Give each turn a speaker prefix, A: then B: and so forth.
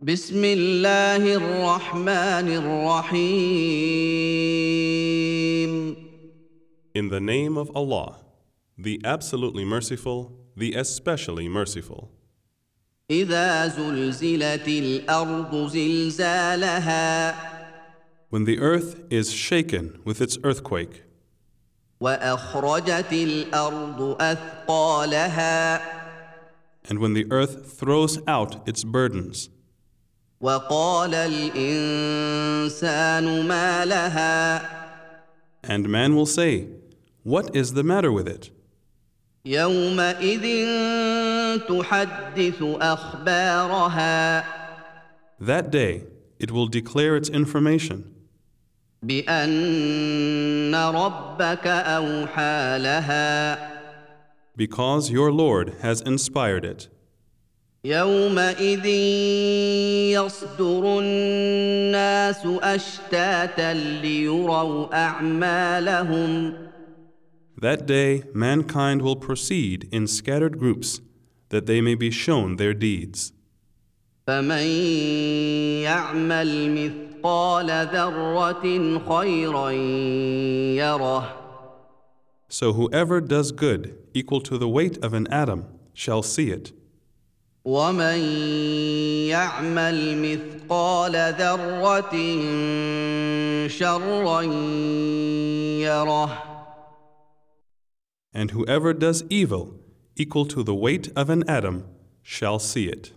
A: بسم الله الرحمن الرحيم
B: In the name of Allah, the absolutely merciful, the especially merciful.
A: إذا زلزلت الأرض زلزالها
B: When the earth is shaken with its earthquake,
A: وأخرجت الأرض أثقالها
B: and when the earth throws out its burdens,
A: وقال الإنسان ما لها
B: and man will say, What is the matter with it?
A: يومئذ تحدث أخبارها
B: That day it will declare its information,
A: بأن ربك أوحى لها
B: because your Lord has inspired it.
A: يومئذ يصدر الناس اشتاتا ليروا اعمالهم
B: That day mankind will proceed in scattered groups, that they may be shown their deeds.
A: فمن يعمل مثقال ذره خيرا يره
B: So whoever does good equal to the weight of an atom shall see it,
A: ومن يعمل مثقال ذره شرا يره
B: and whoever does evil equal to the weight of an atom shall see it.